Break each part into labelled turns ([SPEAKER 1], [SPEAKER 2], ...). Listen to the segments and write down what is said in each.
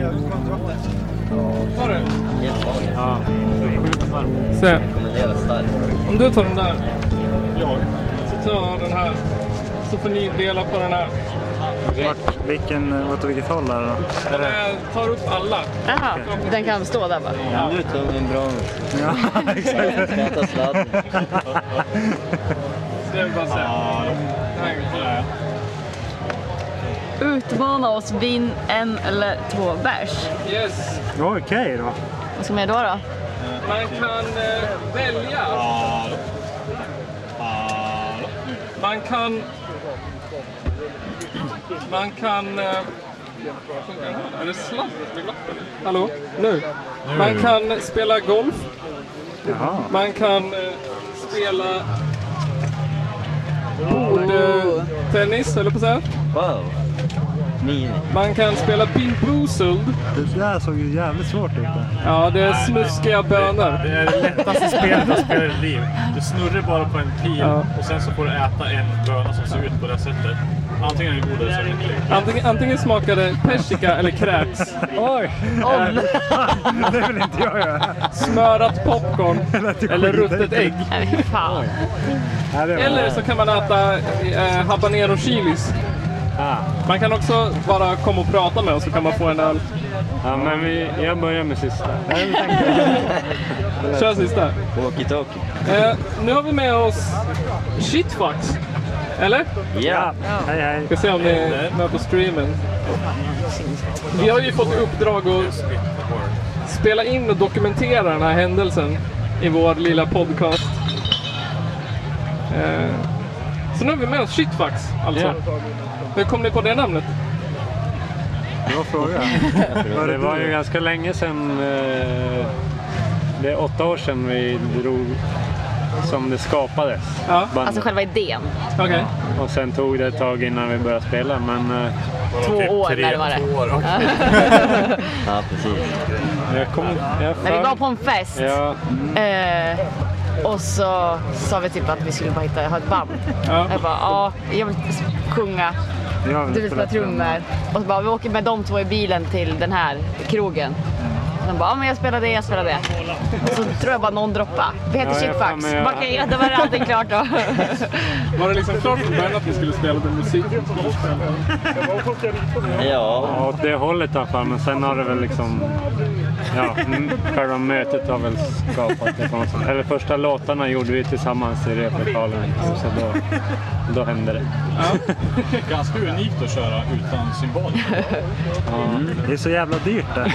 [SPEAKER 1] Jävligt skönt vatten. Har du?
[SPEAKER 2] Jättemånga. Ja.
[SPEAKER 1] Se,
[SPEAKER 2] Rekommenderas starkt.
[SPEAKER 1] om du tar den där
[SPEAKER 3] Jag?
[SPEAKER 1] så tar jag den här. Så får ni dela på den här.
[SPEAKER 3] Vart, vilken, eh, vart åt vilket håll är det då?
[SPEAKER 1] Jag tar upp alla.
[SPEAKER 4] Jaha, den kan stå där bara.
[SPEAKER 2] Ja. Nu tog vi en bra
[SPEAKER 3] Ja, exakt.
[SPEAKER 2] Släta sladden.
[SPEAKER 1] Så det är bara så här. Den här.
[SPEAKER 4] Utmana oss, vinn en eller två bärs.
[SPEAKER 1] Yes,
[SPEAKER 3] Okej då.
[SPEAKER 4] Vad ska man göra då?
[SPEAKER 1] man kan eh, välja. Man kan... Man kan... eh, Är det sladd? Hallå? Nu? Man kan spela golf.
[SPEAKER 3] Jaha.
[SPEAKER 1] Man kan eh, spela bordtennis, eller på så här.
[SPEAKER 2] Wow. Mini.
[SPEAKER 1] Man kan spela pinbroozled.
[SPEAKER 3] Det där såg ju jävligt svårt ut. där.
[SPEAKER 1] Ja, det är snuskiga bönor.
[SPEAKER 5] Det är det lättaste spelet att spela i liv. Du snurrar bara på en pil
[SPEAKER 1] Ja.
[SPEAKER 5] och sen så får du äta en böna som ser ut på det här sättet. Antingen är den god eller så är den äcklig.
[SPEAKER 1] Antingen, antingen smakar det persika eller kräks.
[SPEAKER 3] Oj!
[SPEAKER 4] Om.
[SPEAKER 3] Det vill inte jag göra.
[SPEAKER 1] Smörat popcorn eller ruttet ägg.
[SPEAKER 4] Nej, fy fan.
[SPEAKER 3] Nej, det var-
[SPEAKER 1] Eller så kan man äta eh, habanero chilis.
[SPEAKER 3] Ah.
[SPEAKER 1] Man kan också bara komma och prata med oss så kan man få en öl.
[SPEAKER 6] Ja, men vi, jag börjar med sista.
[SPEAKER 1] Kör sista.
[SPEAKER 2] Walkie-talkie.
[SPEAKER 1] Eh, nu har vi med oss Shitfax. Eller?
[SPEAKER 2] Ja.
[SPEAKER 3] Ja, hej hej.
[SPEAKER 1] Ska se om ni är med på streamen. Vi har ju fått i uppdrag att spela in och dokumentera den här händelsen i vår lilla podcast. Eh, Så nu har vi med oss Shitfax alltså. Hur kom ni på det namnet?
[SPEAKER 3] Bra fråga. Var
[SPEAKER 6] Det
[SPEAKER 3] det
[SPEAKER 6] var ju
[SPEAKER 3] du?
[SPEAKER 6] ganska länge sedan. Eh, det är åtta år sedan vi drog som det skapades.
[SPEAKER 1] Ja,
[SPEAKER 6] bandet.
[SPEAKER 4] Alltså själva idén.
[SPEAKER 1] okej.
[SPEAKER 6] Och sen tog det ett tag innan vi började spela. Men eh,
[SPEAKER 4] Två år
[SPEAKER 5] tre,
[SPEAKER 4] närmare.
[SPEAKER 5] två år. Och
[SPEAKER 2] ja, precis.
[SPEAKER 6] jag kommer... Jag
[SPEAKER 4] Men vi
[SPEAKER 6] för-
[SPEAKER 4] var på en fest.
[SPEAKER 6] Ja,
[SPEAKER 4] Eh, och så sa vi typ att vi skulle bara hitta, ha ett band.
[SPEAKER 1] Ja.
[SPEAKER 4] Jag bara, ja, jag vill sjunga,
[SPEAKER 3] Jag
[SPEAKER 4] du vill spela trummor. Och så bara, vi åker med de två i bilen till den här krogen.
[SPEAKER 3] Mm.
[SPEAKER 4] Och de bara, ja men jag spelar det, jag spelar det. Och så tror jag bara någon droppa. Vi heter
[SPEAKER 6] Ja, jag har
[SPEAKER 4] Shitfax.
[SPEAKER 6] för mig-
[SPEAKER 4] Bara, Okej, ja, då var det allting klart då.
[SPEAKER 1] Var det liksom klart från början att vi skulle spela den musik?
[SPEAKER 2] Ja.
[SPEAKER 6] åt det hållet i alla fall. Men sen har det väl liksom... Ja, m- själva mötet har väl skapat det på något sätt. Eller första låtarna gjorde vi tillsammans i replokalen. Så då, då hände det.
[SPEAKER 5] Ganska unikt att köra utan symboler.
[SPEAKER 3] Det är så jävla dyrt det.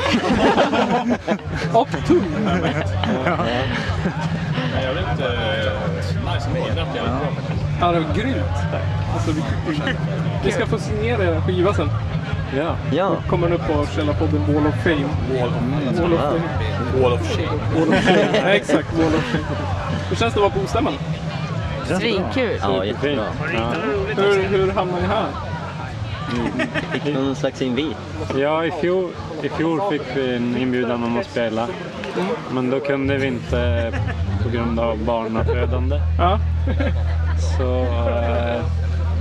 [SPEAKER 1] Och tung.
[SPEAKER 5] Men jag vet inte. eh, Nice mejlat jävligt bra.
[SPEAKER 1] Ja, det var grymt. Alltså, vi, vi ska få signera er skiva sen.
[SPEAKER 6] Ja.
[SPEAKER 2] Ja.
[SPEAKER 1] Kommer den upp på Källarpodden Wall of Fame. Wall of Fame.
[SPEAKER 5] Wall of shame.
[SPEAKER 1] Wall of Fame. Ja, exakt. Wall of Fame. Hur känns det att vara på Ostämman?
[SPEAKER 4] Svinkul.
[SPEAKER 2] Ja, jättebra.
[SPEAKER 6] Ja.
[SPEAKER 1] Hur, hur hamnade ni här?
[SPEAKER 2] Fick någon slags invit.
[SPEAKER 6] Ja, i fjol, i fjol fick vi en inbjudan om att spela. Men då kunde vi inte på grund av barnafödande.
[SPEAKER 1] Ja.
[SPEAKER 6] Så eh,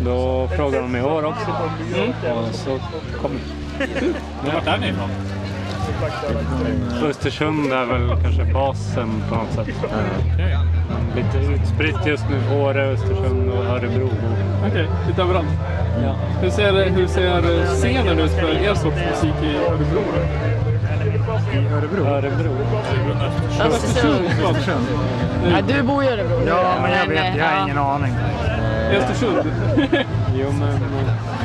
[SPEAKER 6] då frågade de i år också. Mm. Och så kom
[SPEAKER 5] Vart är ni ifrån?
[SPEAKER 6] Eh, Östersund är väl kanske basen på något sätt. Men Lite utspritt just nu. Åre, Östersund och Örebro.
[SPEAKER 1] Okej, lite överallt. Hur ser, hur ser scenen ut för er sorts musik i Örebro?
[SPEAKER 3] I Örebro.
[SPEAKER 6] Örebro.
[SPEAKER 4] Östersund.
[SPEAKER 1] Förlåt,
[SPEAKER 4] Alltså, Ja, du bor i Örebro.
[SPEAKER 3] Mm. Ja, men jag vet.
[SPEAKER 4] eh,
[SPEAKER 3] Jag har
[SPEAKER 4] ja.
[SPEAKER 3] ingen aning.
[SPEAKER 1] Östersund.
[SPEAKER 6] Jo, men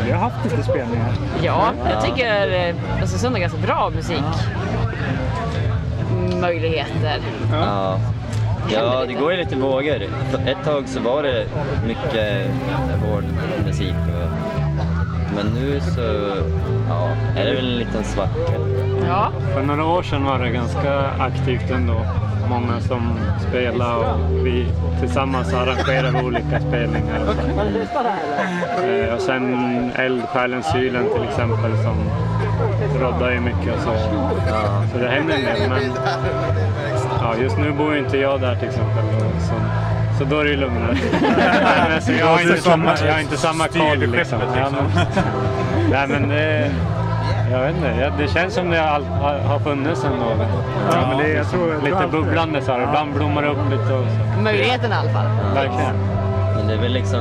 [SPEAKER 3] Vi har haft lite spelningar.
[SPEAKER 4] Ja, jag tycker eh, Östersund har ganska bra musikmöjligheter.
[SPEAKER 2] Ja. Ja, det går ju lite vågor. Ett tag så var det mycket hård musik. Och... Men nu så ja, är det väl en liten svacka.
[SPEAKER 4] Ja,
[SPEAKER 6] För några år sedan var det ganska aktivt ändå. Många som spelade och vi tillsammans arrangerade olika spelningar. Och, så. Eh, och sen Eldsjälen Sylen till exempel som roddar ju mycket och så. Så det händer en del. Men ja, just nu bor ju inte jag där till exempel. Och så, så då är det ju lugnare. Nej, men så jag, har inte samma, jag har inte samma koll liksom. Ja, men, Nej men det, jag vet inte, Ja, det känns som det all, har, har funnits ändå.
[SPEAKER 3] Ja, men det, jag tror, jag tror
[SPEAKER 6] Lite
[SPEAKER 3] alltid det.
[SPEAKER 6] bubblande så här, ibland blommar det upp lite och så.
[SPEAKER 4] Möjligheten i alla fall.
[SPEAKER 6] Verkligen.
[SPEAKER 2] Men det är väl liksom,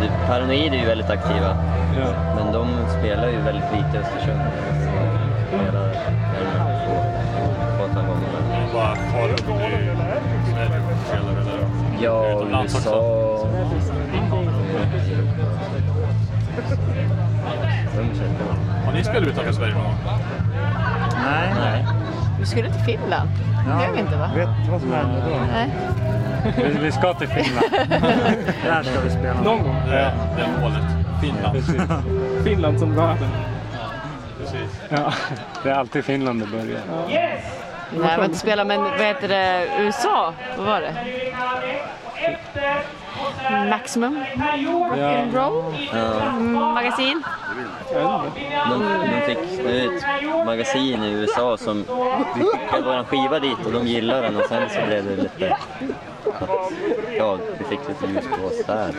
[SPEAKER 2] det- Paranoid är ju väldigt aktiva.
[SPEAKER 6] Ja.
[SPEAKER 2] Men de spelar ju väldigt lite i Östersund. De spelar gärna två, två, tre gånger.
[SPEAKER 5] De bara far runt i Sverige och spelar eller
[SPEAKER 2] Ja,
[SPEAKER 5] utomlands också.
[SPEAKER 2] USA. De känner-
[SPEAKER 5] Har ni spelat utanför Sverige någon gång?
[SPEAKER 3] Nej.
[SPEAKER 2] Nej.
[SPEAKER 4] Vi skulle till Finland. Det gör vi inte va?
[SPEAKER 3] Vet du vad som händer då?
[SPEAKER 4] Nej.
[SPEAKER 6] Vi, vi ska till Finland.
[SPEAKER 3] Där ska vi spela.
[SPEAKER 1] Någon gång.
[SPEAKER 5] Det är, det är målet. Finland.
[SPEAKER 6] Precis.
[SPEAKER 1] Finland som världen.
[SPEAKER 5] Precis.
[SPEAKER 6] Ja, det är alltid Finland det börjar.
[SPEAKER 4] Nej, men spela med, vad heter det, USA? Vad var det? Maximum
[SPEAKER 6] Ja.
[SPEAKER 4] Roll?
[SPEAKER 2] Ja.
[SPEAKER 4] Mm, magasin?
[SPEAKER 2] De, de fick det är ett magasin i USA som vi skickade vår skiva dit och de gillade den och sen så blev det lite... att- Ja, vi fick lite ljusblås där.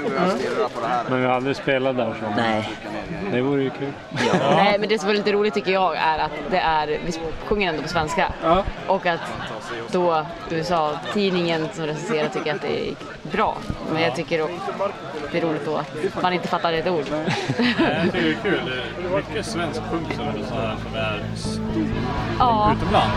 [SPEAKER 6] Men vi har aldrig spelat där så.
[SPEAKER 2] Nej.
[SPEAKER 6] Det vore ju kul.
[SPEAKER 4] Nej, men det som var lite roligt tycker jag är att det är, vi sjunger ändå på svenska.
[SPEAKER 1] Ja.
[SPEAKER 4] Och att då USA-tidningen som recenserar tycker att det gick bra. Men jag tycker då, det är roligt då att man inte fattar ett ord.
[SPEAKER 5] Nej, Jag tycker det är kul. Det är mycket svensk punk som är så här, som är s-
[SPEAKER 4] ja.
[SPEAKER 5] utomlands.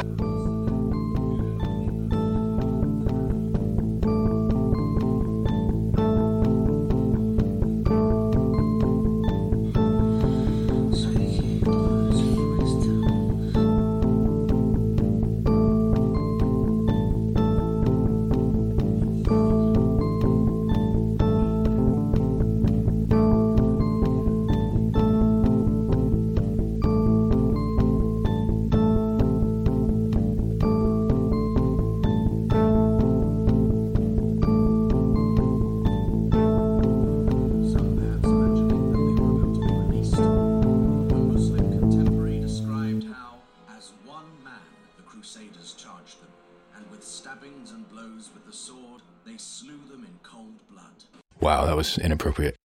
[SPEAKER 7] Some maps mentioning that they were about to be released. One Muslim contemporary described how, as one man, the Crusaders charged them, and with stabbings and blows with the sword, they slew them in cold blood.
[SPEAKER 8] Wow, that was inappropriate.